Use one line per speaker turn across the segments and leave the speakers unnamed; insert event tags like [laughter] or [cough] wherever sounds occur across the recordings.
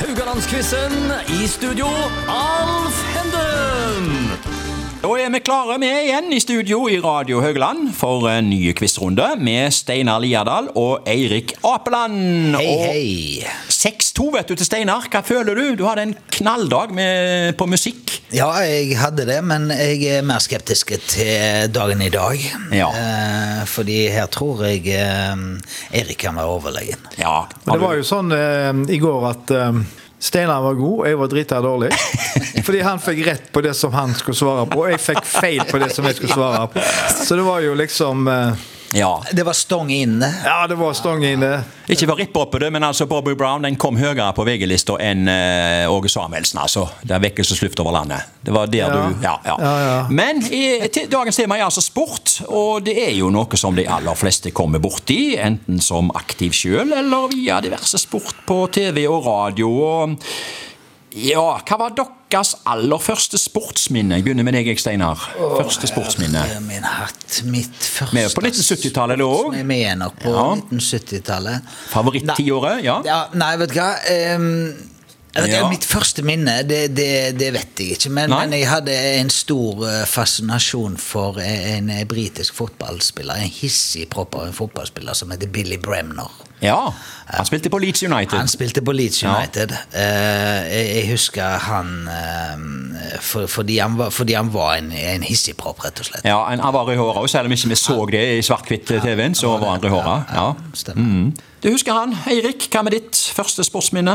Haugalandsquizen. I studio, Alf Henden.
Da er vi klare, vi er igjen i studio i Radio Haugland for en ny quizrunde med Steinar Liadal og Eirik Apeland.
Hei, hei.
Og 6-2 vet du til Steinar. Hva føler du? Du hadde en knalldag med, på musikk.
Ja, jeg hadde det, men jeg er mer skeptisk til dagen i dag.
Ja.
Eh, fordi her tror jeg eh, Erik kan være overlegen.
Ja.
Men det var jo sånn eh, i går at eh, Steinar var god, og jeg var drita dårlig. Fordi han fikk rett på det som han skulle svare på, og jeg fikk feil på det som jeg skulle svare på. Så det var jo liksom eh,
ja.
Det var stong inne.
Ja, det var stong inne.
Ikke for å rippe opp i det, men altså Bobby Brown den kom høyere på VG-lista enn eh, Åge Samuelsen. altså. Det er vekkelse slutt over landet. Det var der du ja, ja.
Ja, ja.
Men i, til, dagens tema er altså sport, og det er jo noe som de aller fleste kommer borti. Enten som aktiv sjøl eller via diverse sport på TV og radio. og... Ja, Hva var deres aller første sportsminne? Jeg begynner med deg, Eik Steinar. Første sportsminne.
Herre Min hatt, mitt første
Vi er på 1970-tallet da òg.
Vi er nok på
Ja.
1970-tallet.
Favoritt-tiåret, ja.
ja. Nei, vet du hva. Ehm, jeg vet, ikke,
Ja.
Mitt første minne, det, det, det vet jeg ikke. Men,
Nei.
men jeg hadde en stor eh, fascinasjon for e, en, en britisk fotballspiller. En hissig propp av en fotballspiller som heter Billy Bremner.
ja. Han spilte på Leeds United.
Han spilte på Leeds
Ja.
United. Eh, jeg, jeg husker han eh, for, fordi, han var, fordi han var en, en hissigpropp, rett og slett.
Ja, en avar i håret, og selv om ikke vi så det i svart-hvitt-TV-en, så var han i håret. Ja. Mm.
Stemmer.
Du husker han, Eirik, hva med ditt første sportsminne?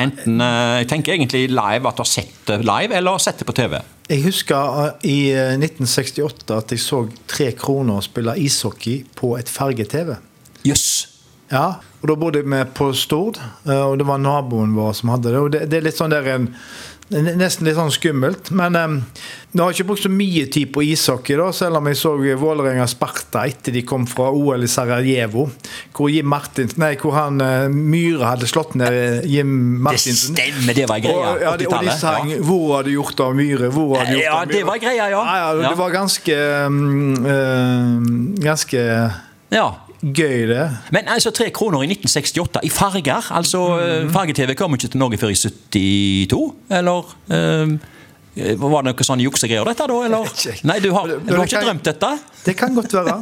Enten, eh, jeg tenker egentlig live, at du har sett det live, eller har sett det på TV.
Jeg husker eh, i eh, 1968 at jeg så Tre Kroner spille ishockey på et farge-TV.
Jøss.
Ja, og da bodde vi på Stord, eh, og det var naboen vår som hadde det. Og det, det er litt sånn der en, det er Nesten litt sånn skummelt. Men eh, jeg har ikke brukt så mye tid på ishockey, da, selv om jeg så eh, Vålerenga Sparta etter de kom fra OL i Sarajevo. Hvor Jim Martins, nei, hvor han eh, Myhre hadde slått ned eh, Jim
Det
Martinsen.
stemmer, det var greia.
Og, ja, de, og de
80-tallet,
sang 'Hvor har du gjort av Myhre?' Hvor har du gjort
Ja,
av Myhre?
det var greia, ja.
ja,
Ja.
Det var ganske mm, eh, Ganske
Ja.
gøy, det.
Men altså, tre kroner i 1968 i farger. Altså,
Mm.
eh, farge-TV kom ikke til Norge før i 72, eller... eh, var det noe sånn juksegreier dette da, eller? Nei, du har, du har ikke drømt dette?
Det kan godt være.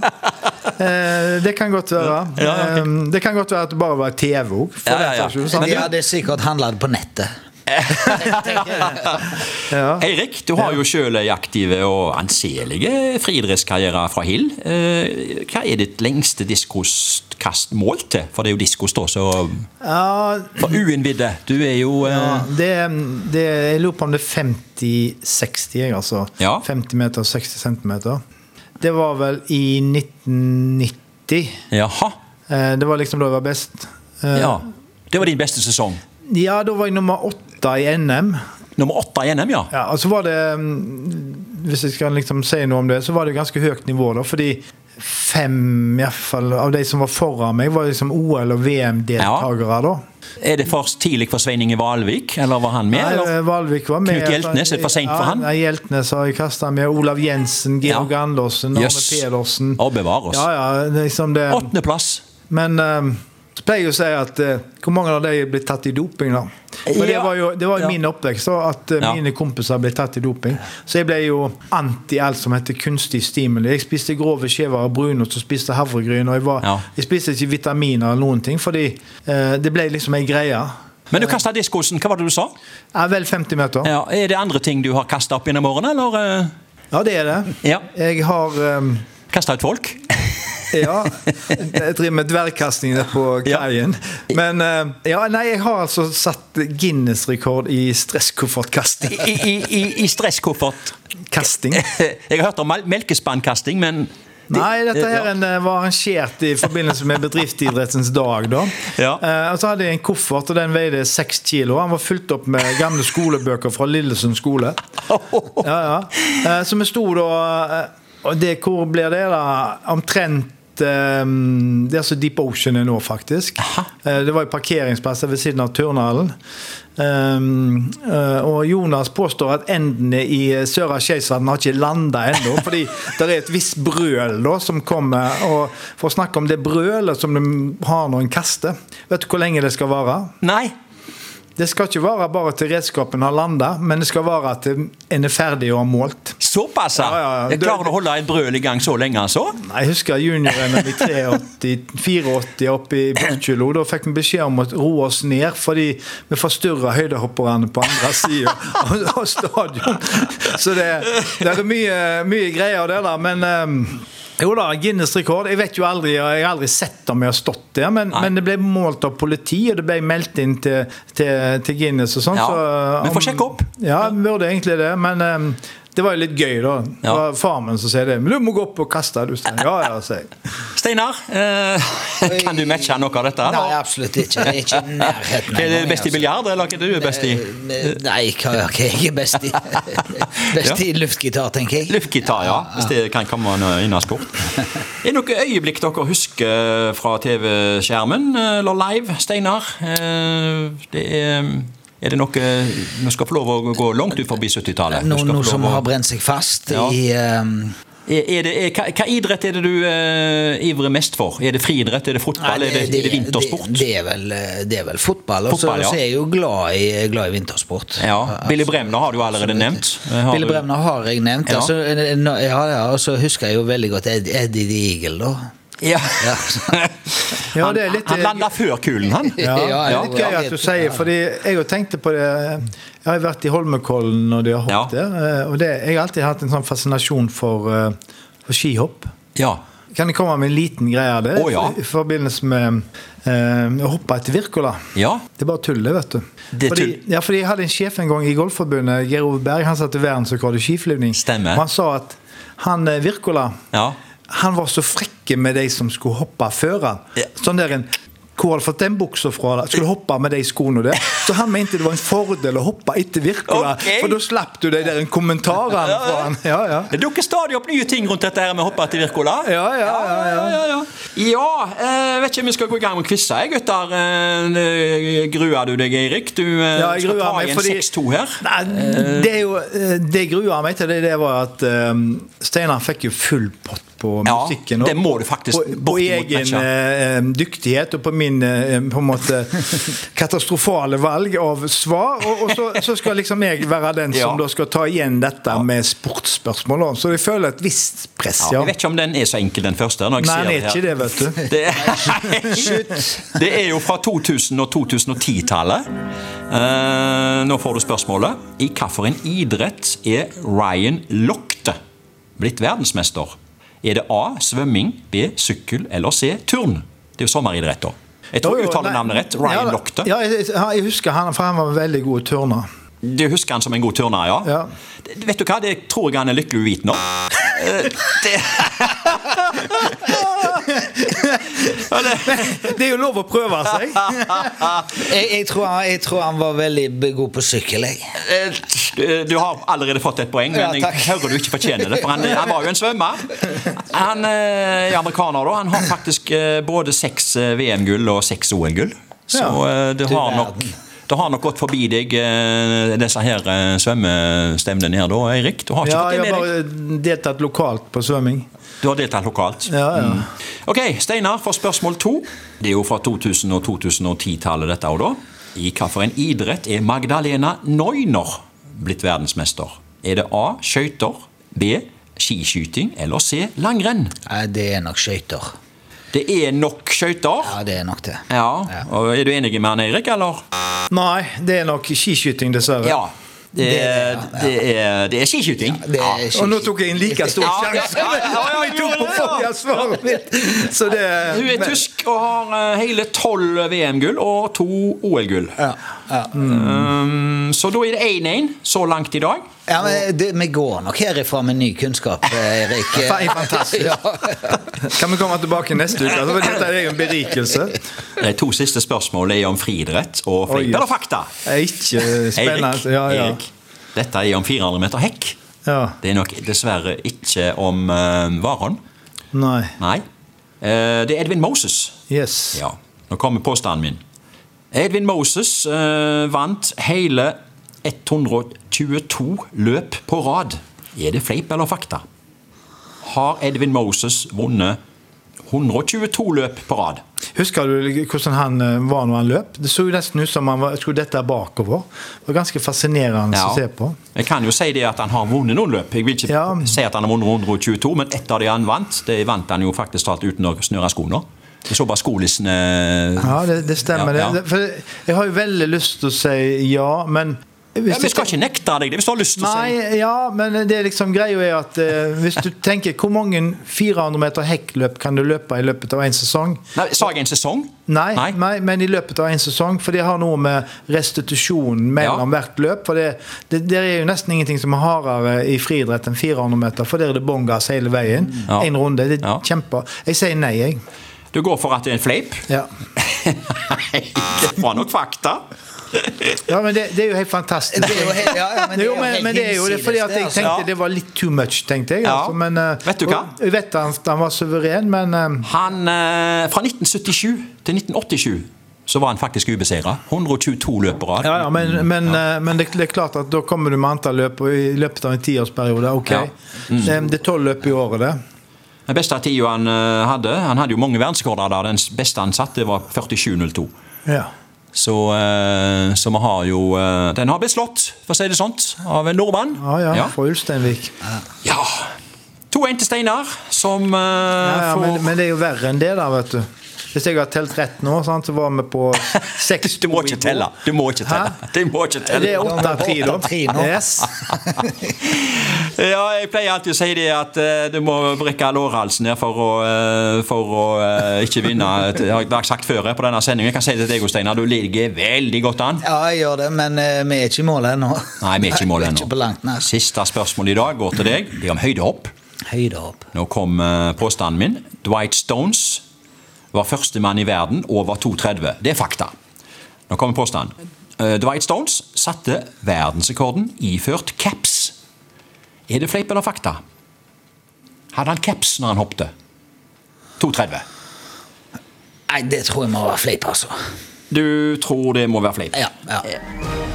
Eh, Det kan godt være.
Ja, ja, ok.
Eh, Det kan godt være at det bare var TV òg. for
Ja, ja,
den
ja.
saks skyld, sant?
De hadde sikkert handla det på nettet.
Ja.
Eirik, du har jo sjøl ei aktive og anselige friidrettskarriere fra Hill. Eh, Hva er ditt lengste diskoskast målt til? For det er jo diskos, da, så
Ja,
For uinnvidde, du er jo eh,
det, det, jeg lurer på om det er 50-60, jeg, altså.
Ja.
50 meter og 60 centimeter. Det var vel i 1990.
Jaha.
Eh, Det var liksom da jeg var best. Eh,
Ja. Det var din beste sesong.
ja, da var jeg nummer åtte i NM.
Nummer åtte i NM, ja.
Ja, og så var det mm, Hvis jeg skal liksom si noe om det, så var det ganske høyt nivå, da. Fordi fem i hvert fall, av de som var foran meg, var liksom OL- og VM-deltakere, da.
Er det for tidlig for Sveining i Valvik, eller var han med?
Nei,
eller?
Eh, Valvik var med.
Knut Hjeltnes, er det for sent for han?
Ja, nei, Hjeltnes har jeg kasta med. Olav Jensen, Georg
Ja.
Andersen, Arne
Jøss.
Pedersen.
Å, bevare oss.
Ja, ja, liksom det.
Åttendeplass.
Men eh, så pleier jeg å si at eh, hvor mange av de er blitt tatt i doping, da? For det
Ja.
var jo det var
Ja.
jo min oppvekst, da, at eh,
Ja.
mine kompiser ble tatt i doping. Så jeg ble jo anti alt som heter kunstig stimuli. Jeg spiste grove skjever og brunost og spiste havregryn. Og jeg, var,
Ja.
jeg spiste ikke vitaminer eller noen ting, fordi eh, det ble liksom ei greie.
Men du kasta diskosen. Hva var det du sa?
Ja, vel 50 meter.
Ja, er det andre ting du har kasta opp gjennom årene, eller? eh?
Ja, det er det.
Ja.
Jeg har eh,
Kasta ut folk?
Ja. Jeg driver med dvergkasting der på
Ja.
kaien. Men eh, ja, nei, jeg har altså satt Guinness-rekord i stresskoffertkasting.
I, i, i, i stresskoffert.
Kasting.
[laughs] Jeg har hørt om mel- melkespannkasting, men
Nei, dette her
Ja.
en, eh, var arrangert i forbindelse med bedriftsidrettens dag. da.
Ja.
Eh, og så hadde jeg en koffert, og den veide seks kilo. Han var fylt opp med gamle skolebøker fra Lillesund skole. Ja, ja. Eh, så vi sto da eh, Og det, hvor blir det, da? Omtrent eh, det er så Deep Ocean er nå, faktisk. Eh, Det var jo parkeringsplasser ved siden av turnhallen. Um, eh, og Jonas påstår at endene i eh, Søra Skeisvatn har ikke landa ennå. Fordi det er et visst brøl da som kommer. Og for å snakke om det brølet som de har når en kaster Vet du hvor lenge det skal vare?
[laughs] Nei.
Det skal ikke være bare til redskapen har landa, men det skal være til en er ferdig og har målt.
Såpass, ja!
Ja, ja, ja.
Jeg klarer å holde en brøl i gang så lenge, altså?
Jeg husker junior-NM i 83, 84 oppe i Bukkjelo. Da fikk vi beskjed om å roe oss ned fordi vi forstyrra høydehopperne på andre sida av stadion. Så det, det er mye, mye greier der, da. Men eh, jo da, Guinness rekord. Jeg vet jo aldri, jeg har aldri sett om jeg har stått der, men,
Nei.
men det ble målt av politi, og det ble meldt inn til, til, til Guinness og sånn.
Ja,
så, eh,
vi får
om-
sjekke opp.
Ja, vi burde egentlig det, men eh, det var jo litt gøy, da. Det
Ja.
var faren min som sier det. Men du må gå opp og kaste, du. Stein. Ja, ja, sier jeg.
Steinar, eh, [laughs] kan du matche noe av dette?
Nei,
eller?
absolutt ikke. Det er ikke i nærheten.
Hva er det
engang,
best i
altså.
biljard, eller hva er det du er best i?
Eh, Nei, hva hva er jeg er
[laughs]
best i? Best i luftgitar, tenker jeg.
Luftgitar, ja. Hvis det kan komme noe
[laughs]
innen sport. Er det noen øyeblikk dere husker fra TV-skjermen eh, eller live, Steinar? Eh, Det er, er det noe Vi skal få lov å gå langt ut forbi 70-tallet. Du
Noen
skal få
noe
lov
som
å-
har brent seg fast
Ja.
i eh,
er, er det, er, hva, hva idrett er det du eh, ivrer mest for? Er det friidrett, er det fotball,
Nei,
er, det, er det vintersport?
Det, det, er vel, eh, det er vel fotball. Og så
Fotball, ja.
så er jeg jo glad i, glad i vintersport.
ja. Billy Bremner har du allerede nevnt. Eh, har
Billy
du-
Bremner har jeg nevnt.
Ja.
Altså, eh, nå- ja, ja, og så husker jeg jo veldig godt Ed, Eddie the Eagle, da.
Ja. [laughs]
Ja.
Ja, det er litt- eh,
han han landa før kulen, han.
Ja,
[laughs] Ja,
det er litt
ja,
gøy
ja.
at du sier, fordi jeg jo tenkte på det Jeg har jo vært i Holmenkollen når de har hoppet
Ja.
der. eh, Og det, jeg har alltid hatt en sånn fascinasjon for, eh, for skihopp.
Ja.
Kan jeg komme med en liten greie av det?
Å, ja.
I forbindelse med eh, å hoppe etter Wirkola.
ja.
Det er bare tull, det, vet du.
Det er
fordi,
tull.
Ja, fordi Jeg hadde en sjef en gang i Golfforbundet, Geir Ove Berg, han satte verdensrekord i skiflyvning.
Stemmer.
Og han sa at han eh, Wirkola
Ja.
han var så frekke med de som skulle hoppe før han.
Ja.
Sånn der en hvor har du fått den buksa fra? da? Skulle du hoppe med de skoene der? Så han mente det var en fordel å hoppe etter Wirkola,
Ok.
for da slapp du de der kommentarene fra han. Ja, ja.
Det dukker stadig opp nye ting rundt dette her med å hoppe til Wirkola.
Ja, ja, ja, ja.
ja, ja. Ja, eh, vet ikke om vi skal gå i gang med quizer, jeg, gutter. Eh, Gruer du deg, Eirik? Du eh,
Ja, jeg
skal ta
gruer meg
igjen
fordi
6-2 her.
Nei, det, er jo, eh, det jeg gruer meg til, det, det var at um, Steinar fikk jo full pott på
Ja,
musikken. og
det må du faktisk
På, på
bortimot
egen
matche.
eh, dyktighet og på min eh, på en måte
[laughs]
katastrofale valg av svar. Og, og så, så skal liksom jeg være den
Ja.
som da skal ta igjen dette med sportsspørsmål. da. Så jeg føler et visst press,
Ja,
ja.
jeg vet ikke om den er så enkel, den første. Når jeg ser
Nei, han er ikke
her.
det, vet
[laughs]
du.
Det er, det er jo fra 2000- og 2010-tallet. Eh, nå får du spørsmålet. I hvilken idrett er Ryan Lochte blitt verdensmester? Er det A. Svømming, B. Sykkel eller C. Turn? Det er jo sommeridrett, da. Jeg tror jeg uttaler
Nei.
navnet rett.
Ja,
Ryan
da.
Lochte.
Ja, jeg, jeg husker han, for han var en veldig god
[laughs]
turner.
Du husker han som en god turner, ja?
Ja.
Det- Vet du hva, det tror jeg han er lykkelig uvitende om. Eh, det- Ja, det-
Det er jo lov å prøve seg.
Jeg, jeg, tror han, jeg tror han var veldig b- god på sykkel, jeg.
Eh, Du har allerede fått et poeng,
Ja,
men jeg
takk.
hører du ikke fortjener det. For han, han var jo en svømmer. Han eh, er amerikaner, da. Han har faktisk eh, både seks eh, VM-gull og seks OL-gull. Så
Ja,
eh, det
du
har nok
verden.
det har nok gått forbi deg, eh, disse her eh, svømmestevnene her da, Eirik. Du har ikke
Ja,
fått
jeg
det
har
med deg.
bare deltatt lokalt på svømming.
Du har deltatt lokalt.
Ja, ja.
Ok, Steinar, for spørsmål to. Det er jo fra 2000- og 2010-tallet, dette òg, da. I hvilken idrett er Magdalena Neuner blitt verdensmester? Er det A. Skøyter. B. Skiskyting. Eller C. Langrenn.
Nei, det er nok skøyter.
Det er nok skøyter.
Ja, det er nok det.
Ja. og Er du enig med han Eirik, eller?
Nei, det er nok skiskyting, dessverre.
Ja. Det er, det er, det er skiskyting.
Det er
Ja.
Og nå tok jeg en like stor
Ja, ja,
sjanse [laughs]
ja, ja, ja,
som jeg tok på forrige svaret mitt! Så det
Hun er tysk og har eh, hele tolv VM-gull og to OL-gull.
Ja, ja.
Um, så da er det 1-1 så langt i dag.
ja men det, Vi går nok herifra med ny kunnskap, eh,
[laughs]
Erik.
Fan, fantastisk. Kan vi komme tilbake neste uke? Altså, for dette er jo en berikelse.
De to siste spørsmålene er om friidrett og
Oi,
flip
ja.
eller fakta.
Det er ikke
Eirik,
spennende. Ja, ja.
Eirik, dette er om 400 meter hekk.
ja.
Det er nok dessverre ikke om uh, Warholm.
Nei.
Nei. Eh, det er Edvin Moses.
Yes.
Ja, nå kommer påstanden min. Edvin Moses eh, vant hele 122 løp på rad. Er det fleip eller fakta? Har Edvin Moses vunnet 122 løp på rad.
Husker du hvordan han eh, var når han løp? Det så jo nesten ut som han var, skulle dette bakover. Det var ganske fascinerende å se på.
Jeg kan jo si det at han har vunnet noen løp. Jeg vil ikke
Ja.
si at han har vunnet 122, men ett av de han vant, det vant han jo faktisk talt uten å snøre skoene. Jeg så bare skolissene
Ja, det, det stemmer.
eh, Ja, ja.
Det, for jeg har jo veldig lyst til å si ja, men hvis
Ja, Vi skal ikke nekte deg det hvis du har lyst til å si
Nei, ja, men det er liksom greia er at eh, hvis du tenker hvor mange 400 meter hekkløp kan du løpe i løpet av en sesong?
Nei, Sa jeg en sesong?
Nei,
Nei.
nei. men i løpet av en sesong. For det har noe med restitusjonen mellom
Ja.
hvert løp. For det, det, det er jo nesten ingenting som er hardere i friidrett enn 400 meter, for der er det bongas hele veien.
Ja.
Én runde. Det er
Ja.
kjempe... Jeg sier nei, jeg.
Du går for at det er en fleip?
Ja.
Nei, det var nok fakta.
Ja, men det, det er jo helt fantastisk.
Det er jo helt- ja, ja, men det er
[laughs]
jo
jo, men,
helt
men det er jo det, fordi at jeg
hinsides det,
tenkte
altså.
det var litt too much, tenkte jeg.
Ja.
Altså, men, eh,
Vet du hva?
og Jeg vet at han, han var suveren, men eh,
Han, eh, fra 1977 til 1987 så var han faktisk ubeseira. 122 løp på rad.
ja, ja, men, men, eh, men det, det er klart at da kommer du med antall løp og i løpet av en tiårsperiode. Ok.
Ja. Mm.
Det, det er tolv løp i året, det.
Den beste tida han eh, hadde Han hadde jo mange verdensrekorder der. Den beste han satte, var 47,02.
Ja.
Så, eh, så vi har jo eh, Den har blitt slått, for å si det sånt, av en nordmann.
Ja, ja,
ja.
fra Ulsteinvik.
Ja. To en til Steinar, som eh,
Ja, ja,
får
men, men det er jo verre enn det, da, vet du. Hvis jeg har telt rett nå, sant, så var vi
[laughs]
på seks
[laughs] Du må ikke telle! Du må ikke telle!
Hæ?
Du må ikke
Det
telle.
er åtte av tre,
Åtte av tre
da.
nå.
Yes.
Ja, jeg pleier alltid å si det at eh, du må brekke lårhalsen her for å, eh, for å eh, ikke vinne. Det har jeg sagt før her på denne sendingen. Jeg kan si det til deg, Steinar. Du ligger veldig godt an.
Ja, jeg gjør det, men eh, vi er ikke i mål ennå.
Nei, vi er ikke i mål
[laughs] Vi er
ennå.
ikke på langt nær.
Siste spørsmål i dag går til deg. Det er om høydehopp.
Høydehopp.
Nå kom eh, påstanden min. Dwight Stones var førstemann i verden over 2,30. Det er fakta. Nå kommer påstanden. Eh, Dwight Stones satte verdensrekorden iført caps. Er det fleip eller fakta? Hadde han caps når han hoppte? 2,30.
Nei, det tror jeg må være fleip, altså.
Du tror det må være fleip?
Ja, ja.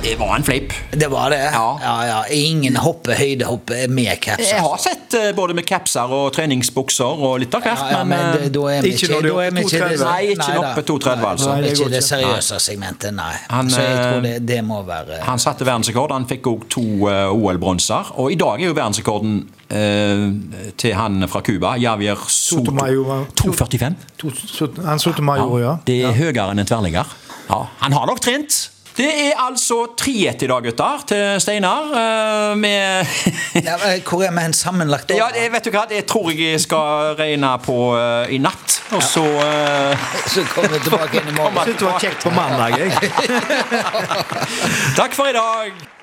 Det var en fleip.
Det var det?
Ja.
ja, ja. Ingen hoppe, høydehopp med caps.
Jeg
altså.
har sett eh, både med capser og treningsbukser og litt av hvert,
Ja, ja, men
men, eh,
det- da er vi
Ikke når du
da
er
er vi
oppe
ikke det-
2,30.
Nei, ikke
nei,
oppe
da.
2,30, altså.
Nei,
Nei, det
ikke
går
det
ikke.
seriøse segmentet, nei.
Han,
Så jeg tror
eh,
det, det må være
Han satte verdensrekord. Han fikk òg to eh, OL-bronser. Og i dag er jo verdensrekorden eh, til han fra Cuba, Javier Soto,
Sotomayor.
2,45.
To- Sot- Han Sotomayor, ja.
Det er høyere enn en tverrligger. Ja, han har nok trent. Det er altså 3-1 i dag, gutter, til Steinar. eh, med [laughs]
ja, men Hvor er vi hen sammenlagt?
Ja, det, vet du hva, det tror jeg jeg skal regne på eh, i natt. Og så eh,
[laughs] Så kommer vi tilbake inn i morgen.
Jeg syntes det var kjekt på mandag, jeg.
Takk for i dag!